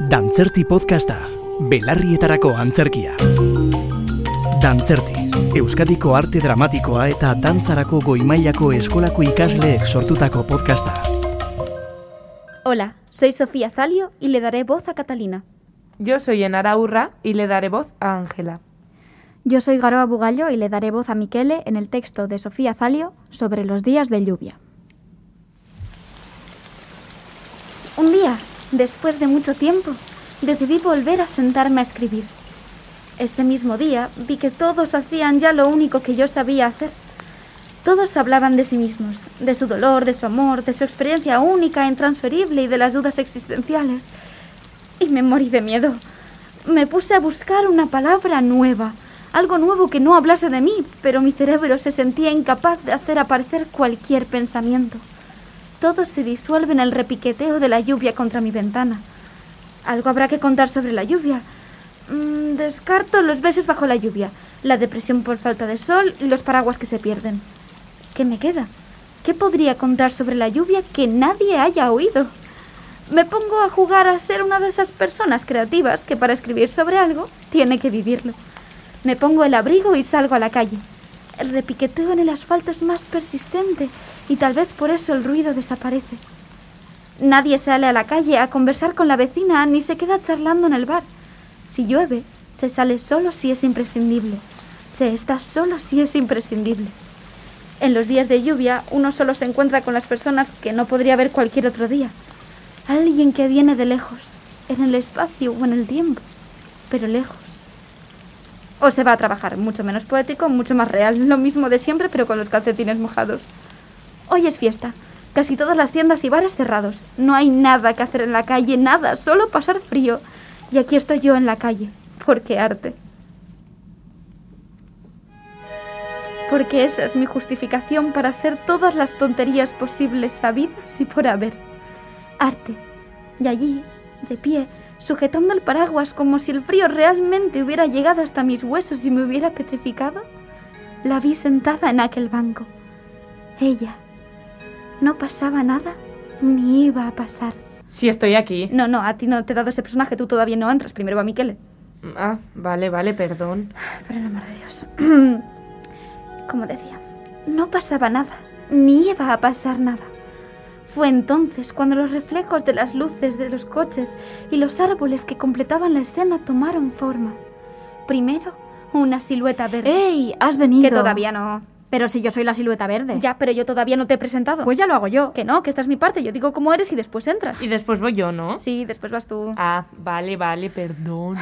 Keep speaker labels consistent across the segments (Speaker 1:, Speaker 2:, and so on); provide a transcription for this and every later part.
Speaker 1: Dantzerti podcasta, belarrietarako antzerkia. Dantzerti, Euskadiko arte dramatikoa eta dantzarako goimailako eskolako ikasleek sortutako podcasta.
Speaker 2: Hola, soy Sofía Zalio y le daré voz a Catalina.
Speaker 3: Yo soy Enara Urra y le daré voz a Ángela.
Speaker 2: Yo soy Garoa Bugallo y le daré voz a Miquele en el texto de Sofía Zalio sobre los días de lluvia. Un día, después de mucho tiempo, decidí volver a sentarme a escribir. Ese mismo día vi que todos hacían ya lo único que yo sabía hacer. Todos hablaban de sí mismos, de su dolor, de su amor, de su experiencia única e intransferible y de las dudas existenciales. Y me morí de miedo. Me puse a buscar una palabra nueva, algo nuevo que no hablase de mí, pero mi cerebro se sentía incapaz de hacer aparecer cualquier pensamiento. Todo se disuelve en el repiqueteo de la lluvia contra mi ventana. Algo habrá que contar sobre la lluvia. Mm, descarto los besos bajo la lluvia, la depresión por falta de sol y los paraguas que se pierden. ¿Qué me queda? ¿Qué podría contar sobre la lluvia que nadie haya oído? Me pongo a jugar a ser una de esas personas creativas que para escribir sobre algo tiene que vivirlo. Me pongo el abrigo y salgo a la calle. El repiqueteo en el asfalto es más persistente y tal vez por eso el ruido desaparece. Nadie sale a la calle a conversar con la vecina ni se queda charlando en el bar. Si llueve, se sale solo si es imprescindible. Se está solo si es imprescindible. En los días de lluvia, uno solo se encuentra con las personas que no podría ver cualquier otro día. Alguien que viene de lejos, en el espacio o en el tiempo, pero lejos. O se va a trabajar, mucho menos poético, mucho más real, lo mismo de siempre, pero con los calcetines mojados. Hoy es fiesta. Casi todas las tiendas y bares cerrados. No hay nada que hacer en la calle, nada, solo pasar frío. Y aquí estoy yo en la calle. Porque arte. Porque esa es mi justificación para hacer todas las tonterías posibles sabidas y por haber. Arte. Y allí, de pie, sujetando el paraguas como si el frío realmente hubiera llegado hasta mis huesos y me hubiera petrificado, la vi sentada en aquel banco. Ella. No pasaba nada, ni iba a pasar.
Speaker 3: Si estoy aquí.
Speaker 2: No, no, a ti no te he dado ese personaje, tú todavía no entras, primero va Miquele.
Speaker 3: Ah, vale, vale, perdón.
Speaker 2: Por el amor de Dios. Como decía, no pasaba nada, ni iba a pasar nada. Fue entonces cuando los reflejos de las luces de los coches y los árboles que completaban la escena tomaron forma. Primero, una silueta verde.
Speaker 4: ¡Ey! Has venido.
Speaker 2: Que todavía no.
Speaker 4: Pero si yo soy la silueta verde.
Speaker 2: Ya, pero yo todavía no te he presentado.
Speaker 4: Pues ya lo hago yo.
Speaker 2: Que no, que esta es mi parte. Yo digo cómo eres y después entras.
Speaker 3: Y después voy yo, ¿no?
Speaker 2: Sí, después vas tú.
Speaker 3: Ah, vale, vale, perdón.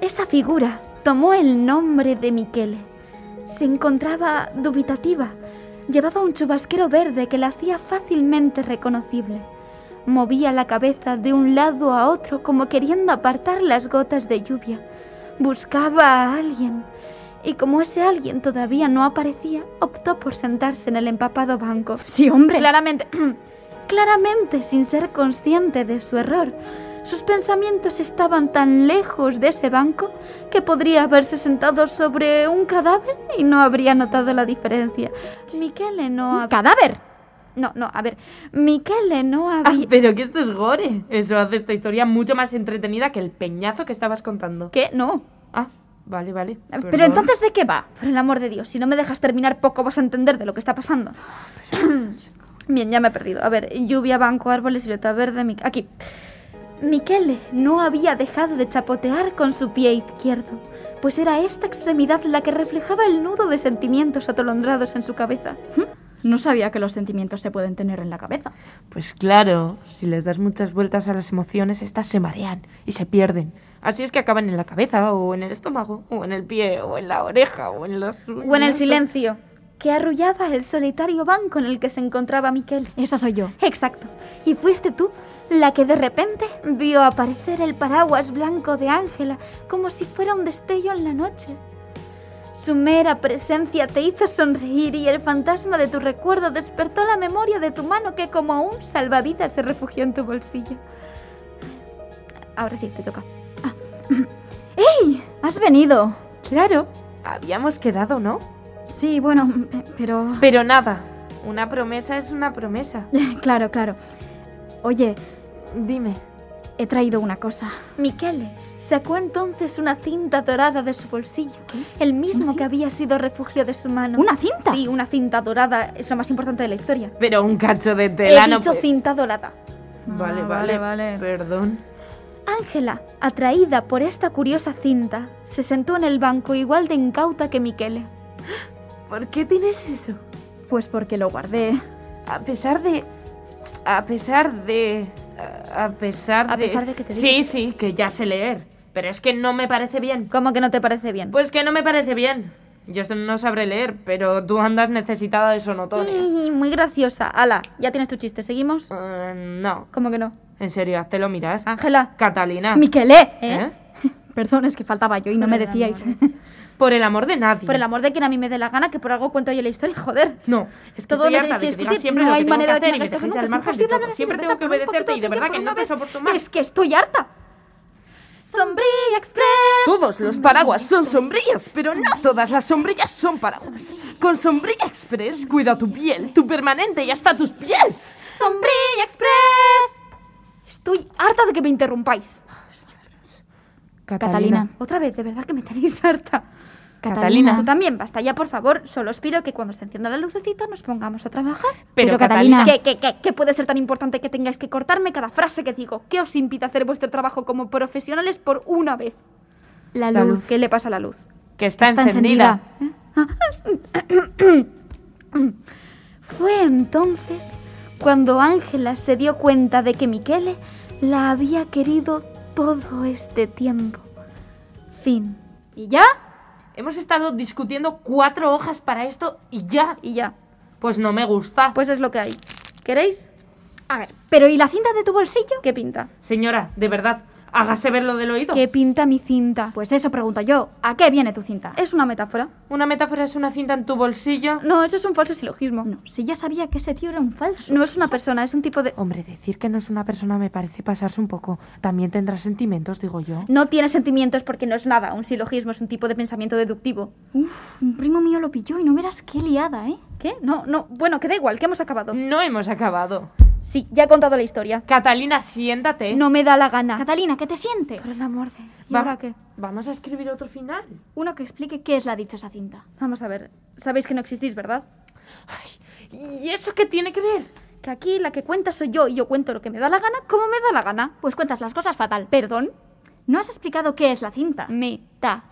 Speaker 2: Esa figura tomó el nombre de Miquele. Se encontraba dubitativa. Llevaba un chubasquero verde que la hacía fácilmente reconocible. Movía la cabeza de un lado a otro como queriendo apartar las gotas de lluvia. Buscaba a alguien. Y como ese alguien todavía no aparecía, optó por sentarse en el empapado banco.
Speaker 4: Sí, hombre.
Speaker 2: Claramente, claramente sin ser consciente de su error, sus pensamientos estaban tan lejos de ese banco que podría haberse sentado sobre un cadáver y no habría notado la diferencia. Miquele no había...
Speaker 4: Ah, ¡Cadáver!
Speaker 2: No, no, a ver. Miquele no
Speaker 3: Ah,
Speaker 2: había...
Speaker 3: pero que esto es gore. Eso hace esta historia mucho más entretenida que el peñazo que estabas contando.
Speaker 2: ¿Qué? No.
Speaker 3: Ah, vale, vale.
Speaker 4: Pero
Speaker 3: perdón.
Speaker 4: entonces, ¿de qué va?
Speaker 2: Por el amor de Dios, si no me dejas terminar, poco vas a entender de lo que está pasando. Bien, ya me he perdido. A ver, lluvia, banco, árboles, silueta verde, mi... aquí. Miquele no había dejado de chapotear con su pie izquierdo, pues era esta extremidad la que reflejaba el nudo de sentimientos atolondrados en su cabeza.
Speaker 4: No sabía que los sentimientos se pueden tener en la cabeza.
Speaker 3: Pues claro, si les das muchas vueltas a las emociones, estas se marean y se pierden. Así es que acaban en la cabeza, o en el estómago, o en el pie, o en la oreja, o en las...
Speaker 2: O en el silencio, que arrullaba el solitario banco en el que se encontraba Miquele.
Speaker 4: Esa soy yo.
Speaker 2: Exacto. Y fuiste tú la que de repente vio aparecer el paraguas blanco de Ángela como si fuera un destello en la noche. Su mera presencia te hizo sonreír y el fantasma de tu recuerdo despertó la memoria de tu mano que como un salvavidas se refugió en tu bolsillo. Ahora sí, te toca.
Speaker 4: ¡Ey! ¿Has venido?
Speaker 3: Claro, habíamos quedado, ¿no?
Speaker 4: Sí, bueno, pe- pero...
Speaker 3: Pero nada, una promesa es una promesa.
Speaker 4: claro, claro. Oye,
Speaker 3: Dime.
Speaker 4: He traído una cosa.
Speaker 2: Michele sacó entonces una cinta dorada de su bolsillo, el mismo que había sido refugio de su mano.
Speaker 4: ¿Una cinta?
Speaker 2: Sí, una cinta dorada es lo más importante de la historia.
Speaker 3: Pero un cacho de
Speaker 2: He
Speaker 3: tela no
Speaker 2: dicho
Speaker 3: puede-
Speaker 2: cinta dorada.
Speaker 3: Vale,
Speaker 4: Ah,
Speaker 3: vale,
Speaker 4: vale, vale.
Speaker 3: Perdón.
Speaker 2: Ángela, atraída por esta curiosa cinta, se sentó en el banco igual de incauta que Michele.
Speaker 3: ¿Por qué tienes eso?
Speaker 4: Pues porque lo guardé.
Speaker 3: A pesar de. A pesar de. A a pesar de.
Speaker 2: A pesar de que te
Speaker 3: Sí,
Speaker 2: diga.
Speaker 3: sí, que ya sé leer. Pero es que no me parece bien.
Speaker 2: ¿Cómo que no te parece bien?
Speaker 3: Pues que no me parece bien. Yo eso no sabré leer, pero tú andas necesitada de sonotones.
Speaker 2: Ih, Muy graciosa. Ala, ya tienes tu chiste, ¿seguimos?
Speaker 3: Eh, no.
Speaker 2: ¿Cómo que no?
Speaker 3: En serio, háztelo mirar.
Speaker 2: Ángela.
Speaker 3: Catalina.
Speaker 4: ¡Miquelé!
Speaker 3: ¿Eh?
Speaker 4: Perdón, es que faltaba yo y no me decíais.
Speaker 3: Por el amor de nadie.
Speaker 2: Por el amor de quien a mí me dé la gana, que por algo cuento yo la historia, joder.
Speaker 3: No, es que
Speaker 2: Todo
Speaker 3: estoy
Speaker 2: lo
Speaker 3: harta de
Speaker 2: tenéis que
Speaker 3: que digas
Speaker 2: discutir,
Speaker 3: siempre
Speaker 2: no
Speaker 3: lo que
Speaker 2: hay
Speaker 3: tengo que
Speaker 2: manera de que
Speaker 3: hacer y
Speaker 2: me
Speaker 3: me
Speaker 2: hagas caso
Speaker 3: dejéis
Speaker 2: nunca,
Speaker 3: al
Speaker 2: es
Speaker 3: margen de
Speaker 2: imposible
Speaker 3: todo.
Speaker 2: hablar así,
Speaker 3: Siempre
Speaker 2: de
Speaker 3: tengo
Speaker 2: verdad,
Speaker 3: que
Speaker 2: por muy
Speaker 3: obedecerte y de
Speaker 2: poquito tiempo,
Speaker 3: verdad que
Speaker 2: por
Speaker 3: no
Speaker 2: una
Speaker 3: te
Speaker 2: vez.
Speaker 3: soporto más.
Speaker 2: Es que estoy harta. Sombría Express.
Speaker 3: Todos los paraguas son sombrillas, pero no todas las sombrillas son paraguas. Con Sombrilla Express cuida tu piel, tu permanente y hasta tus pies.
Speaker 2: Sombría Express. Estoy harta de que me interrumpáis.
Speaker 4: Catalina.
Speaker 2: Otra vez, de verdad que me tenéis harta.
Speaker 3: Catalina.
Speaker 2: Tú también, basta ya, por favor. Solo os pido que cuando se encienda la lucecita nos pongamos a trabajar.
Speaker 3: Pero
Speaker 4: Pero
Speaker 3: Catalina.
Speaker 2: ¿Qué,
Speaker 4: Catalina.
Speaker 2: qué, qué, qué puede ser tan importante que tengáis que cortarme cada frase que digo? ¿Qué os impide hacer vuestro trabajo como profesionales por una vez?
Speaker 4: La
Speaker 3: La luz.
Speaker 4: luz.
Speaker 2: ¿Qué le pasa a la luz?
Speaker 3: Que está,
Speaker 4: Está encendida.
Speaker 2: Fue entonces cuando Ángela se dio cuenta de que Michele la había querido todo este tiempo. Fin.
Speaker 4: ¿Y ya?
Speaker 3: Hemos estado discutiendo cuatro hojas para esto y ya.
Speaker 2: Y ya.
Speaker 3: Pues no me gusta.
Speaker 2: Pues es lo que hay. ¿Queréis?
Speaker 4: A ver, ¿pero y la cinta de tu bolsillo?
Speaker 2: ¿Qué pinta?
Speaker 3: Señora, de verdad, hágase ver lo del oído.
Speaker 2: ¿Qué pinta mi cinta?
Speaker 4: Pues eso pregunto yo. ¿A qué viene tu cinta?
Speaker 2: Es una metáfora.
Speaker 3: Una metáfora es una cinta en tu bolsillo.
Speaker 2: No, eso es un falso silogismo.
Speaker 4: No, si ya sabía que ese tío era un falso.
Speaker 2: No es una persona, es un tipo de...
Speaker 3: Hombre, decir que no es una persona me parece pasarse un poco. También tendrá sentimientos, digo yo.
Speaker 2: No tiene sentimientos porque no es nada. Un silogismo es un tipo de pensamiento deductivo.
Speaker 4: Uf, un primo mío lo pilló y no verás qué liada, ¿eh?
Speaker 2: ¿Qué? No, no. Bueno, que da igual, que hemos acabado.
Speaker 3: No hemos acabado.
Speaker 2: Sí, ya he contado la historia.
Speaker 3: Catalina, siéntate.
Speaker 2: No me da la gana.
Speaker 4: Catalina, ¿qué te sientes?
Speaker 2: Por el amor de... ¿Y
Speaker 3: ¿Eh? Va-
Speaker 2: ahora qué?
Speaker 3: Vamos a escribir otro final.
Speaker 4: Uno que explique qué es la dichosa cinta.
Speaker 2: Vamos a ver. Sabéis que no existís, ¿verdad?
Speaker 3: ¿Y eso qué tiene que ver?
Speaker 2: Que aquí la que cuenta soy yo y yo cuento lo que me da la gana como me da la gana.
Speaker 4: Pues cuentas las cosas fatal.
Speaker 2: Perdón.
Speaker 4: No has explicado qué es la cinta.
Speaker 2: Metazora.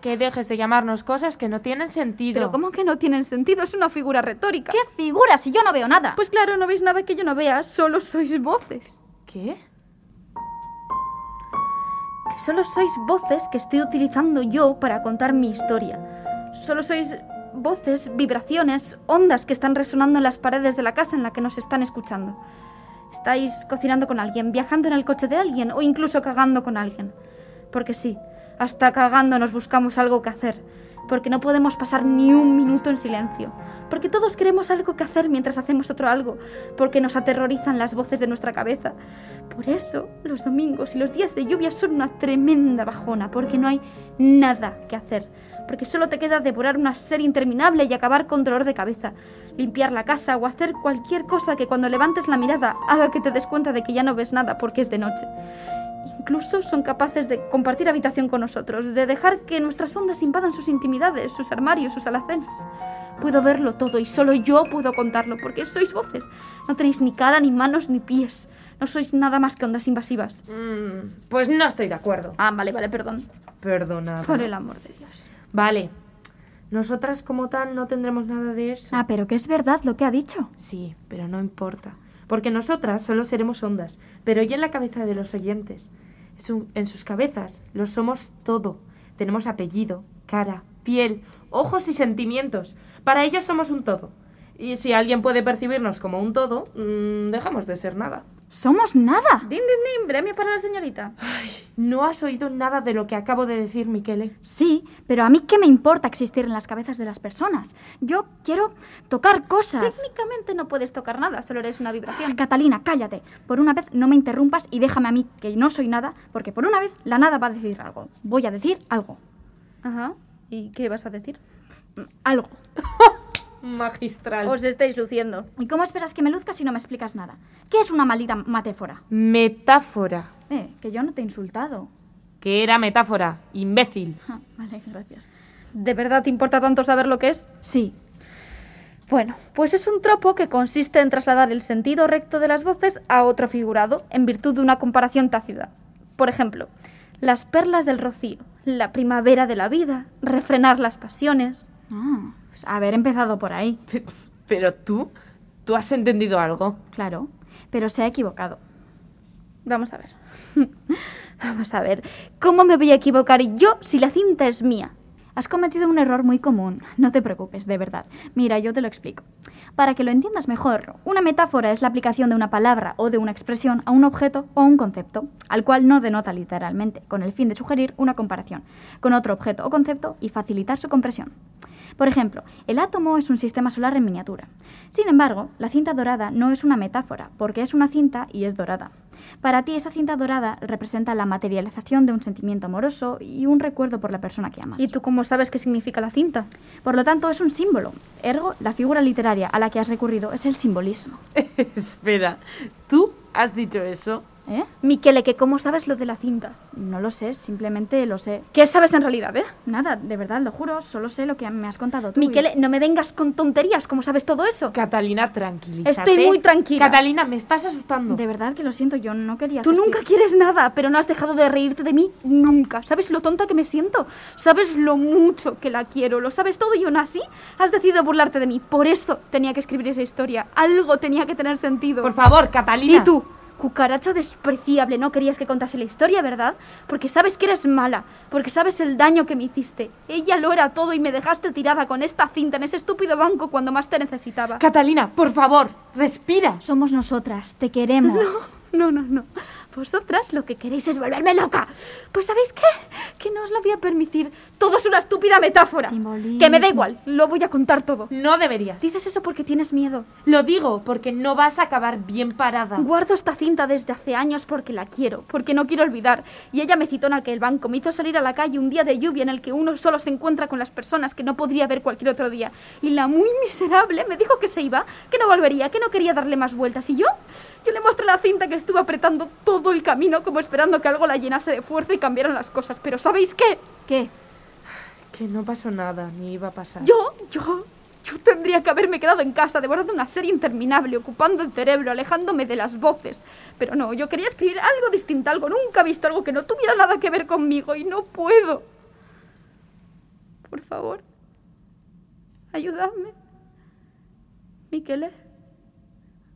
Speaker 3: Que dejes de llamarnos cosas que no tienen sentido.
Speaker 2: Pero ¿cómo que no tienen sentido? Es una figura retórica.
Speaker 4: ¿Qué figura si yo no veo nada?
Speaker 2: Pues claro, no veis nada que yo no vea, solo sois voces.
Speaker 3: ¿Qué?
Speaker 2: Que solo sois voces que estoy utilizando yo para contar mi historia. Solo sois voces, vibraciones, ondas que están resonando en las paredes de la casa en la que nos están escuchando. Estáis cocinando con alguien, viajando en el coche de alguien o incluso cagando con alguien. Porque sí, hasta cagando nos buscamos algo que hacer. Porque no podemos pasar ni un minuto en silencio. Porque todos queremos algo que hacer mientras hacemos otro algo. Porque nos aterrorizan las voces de nuestra cabeza. Por eso los domingos y los días de lluvia son una tremenda bajona. Porque no hay nada que hacer. Porque solo te queda devorar una serie interminable y acabar con dolor de cabeza. Limpiar la casa o hacer cualquier cosa que cuando levantes la mirada haga que te des cuenta de que ya no ves nada porque es de noche. Incluso son capaces de compartir habitación con nosotros, de dejar que nuestras ondas invadan sus intimidades, sus armarios, sus alacenas. Puedo verlo todo y solo yo puedo contarlo, porque sois voces. No tenéis ni cara, ni manos, ni pies. No sois nada más que ondas invasivas.
Speaker 3: pues no estoy de acuerdo.
Speaker 2: Ah, vale, vale, perdón.
Speaker 3: Perdonad.
Speaker 2: Por el amor de Dios.
Speaker 3: Vale. Nosotras como tal no tendremos nada de eso.
Speaker 4: Ah, pero que es verdad lo que ha dicho.
Speaker 3: Sí, pero no importa. Porque nosotras solo seremos ondas, pero hoy en la cabeza de los oyentes. En su- en sus cabezas lo somos todo. Tenemos apellido, cara, piel, ojos y sentimientos. Para ellos somos un todo. Y si alguien puede percibirnos como un todo, mm, dejamos de ser nada.
Speaker 4: Somos nada.
Speaker 2: Din, din, din, premio para la señorita.
Speaker 3: No has oído nada de lo que acabo de decir, Miquele.
Speaker 4: Sí, pero a mí qué me importa existir en las cabezas de las personas. Yo quiero tocar cosas.
Speaker 2: Técnicamente no puedes tocar nada, solo eres una
Speaker 4: Ah,
Speaker 2: vibración.
Speaker 4: Catalina, cállate. Por una vez no me interrumpas y déjame a mí, que no soy nada, porque por una vez la nada va a decir algo. Voy a decir algo. Mm,
Speaker 2: Ajá. ¿Y qué vas a decir?
Speaker 4: Algo.
Speaker 3: Magistral.
Speaker 2: Os estáis luciendo.
Speaker 4: ¿Y cómo esperas que me luzca si no me explicas nada? ¿Qué es una maldita matéfora?
Speaker 3: Metáfora.
Speaker 4: Eh, que yo no te he insultado.
Speaker 3: Que era metáfora, imbécil.
Speaker 4: Ah, vale, gracias.
Speaker 2: ¿De verdad te importa tanto saber lo que es?
Speaker 4: Sí,
Speaker 2: Bueno, pues es un tropo que consiste en trasladar el sentido recto de las voces a otro figurado en virtud de una comparación tácita. Por ejemplo, las perlas del rocío, la primavera de la vida, refrenar las pasiones.
Speaker 4: Ah, pues haber empezado por ahí,
Speaker 3: Pe- Pero tú, tú has entendido algo.
Speaker 4: claro. Pero se ha equivocado.
Speaker 2: Vamos a ver. Vamos a ver. ¿Cómo me voy a equivocar yo si la cinta es mía?
Speaker 4: Has cometido un error muy común. No te preocupes, de verdad. Mira, yo te lo explico. Para que lo entiendas mejor, una metáfora es la aplicación de una palabra o de una expresión a un objeto o un concepto, al cual no denota literalmente, con el fin de sugerir una comparación con otro objeto o concepto y facilitar su comprensión. Por ejemplo, el átomo es un sistema solar en miniatura. Sin embargo, la cinta dorada no es una metáfora, porque es una cinta y es dorada. Para ti, esa cinta dorada representa la materialización de un sentimiento amoroso y un recuerdo por la persona que amas.
Speaker 2: ¿Y tú cómo sabes qué significa la cinta?
Speaker 4: Por lo tanto, es un símbolo. Ergo, la figura literaria a la que has recurrido es el simbolismo.
Speaker 3: Espera, ¿tú has dicho eso?
Speaker 4: ¿Eh?
Speaker 2: Miquele, que cómo sabes lo de la cinta.
Speaker 4: No lo sé, simplemente lo sé.
Speaker 2: ¿Qué sabes en realidad, eh?
Speaker 4: Nada, de verdad, lo juro, solo sé lo que me has contado tú. y-
Speaker 2: Miquele, no me vengas con tonterías, ¿cómo sabes todo eso?
Speaker 3: Catalina, tranquilízate.
Speaker 2: Estoy muy tranquila.
Speaker 3: Catalina, me estás asustando.
Speaker 4: De verdad que lo siento, yo no quería...
Speaker 2: Tú
Speaker 4: hacerte-
Speaker 2: nunca quieres nada, pero no has dejado de reírte de mí nunca. ¿Sabes lo tonta que me siento? ¿Sabes lo mucho que la quiero? ¿Lo sabes todo y aún así has decidido burlarte de mí? Por eso tenía que escribir esa historia. Algo tenía que tener sentido.
Speaker 3: Por favor, Catalina.
Speaker 2: y tú, cucaracha despreciable, no querías que contase la historia, ¿verdad? Porque sabes que eres mala, porque sabes el daño que me hiciste. Ella lo era todo y me dejaste tirada con esta cinta en ese estúpido banco cuando más te necesitaba.
Speaker 3: Catalina, por favor, respira.
Speaker 4: Somos nosotras, te queremos.
Speaker 2: No, no, no. Vosotras lo que queréis es volverme loca. Pues ¿sabéis qué? Que no os lo voy a permitir. Todo es una estúpida metáfora.
Speaker 4: Simbolismo.
Speaker 2: Que me da igual, lo voy a contar todo.
Speaker 3: No deberías.
Speaker 2: Dices eso porque tienes miedo.
Speaker 3: Lo digo porque no vas a acabar bien parada.
Speaker 2: Guardo esta cinta desde hace años porque la quiero, porque no quiero olvidar. Y ella me citó en aquel banco, me hizo salir a la calle un día de lluvia en el que uno solo se encuentra con las personas que no podría ver cualquier otro día. Y la muy miserable me dijo que se iba, que no volvería, que no quería darle más vueltas. Y yo, yo le mostré la cinta que estuve apretando todo el camino como esperando que algo la llenase de fuerza y cambiaran las cosas. Pero ¿sabéis qué?
Speaker 4: ¿Qué?
Speaker 3: Que no pasó nada, ni iba a pasar.
Speaker 2: Yo, yo, yo tendría que haberme quedado en casa devorando una serie interminable, ocupando el cerebro, alejándome de las voces. Pero no, yo quería escribir algo distinto, algo nunca visto, algo que no tuviera nada que ver conmigo y no puedo. Por favor, ayudadme. Miquele,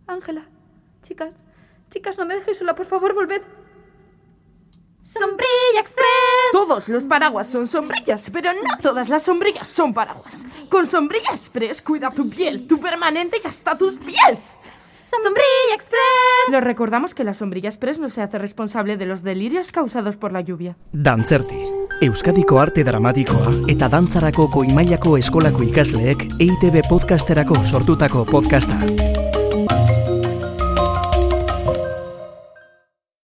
Speaker 2: Ángela, chicas, chicas, no me dejéis sola, por favor, volved.
Speaker 4: ¡Sombrilla Express!
Speaker 3: Todos los paraguas son sombrillas, pero no todas las sombrillas son paraguas. Con Sombrilla Express cuida tu piel, tu permanente y hasta tus pies.
Speaker 4: ¡Sombrilla Express!
Speaker 3: Les recordamos que la Sombrilla Express no se hace responsable de los delirios causados por la lluvia.
Speaker 1: Dantzerti, Euskadiko arte dramatikoa eta dantzarako goimailako eskolako ikasleek EITB podcasterako sortutako podcasta.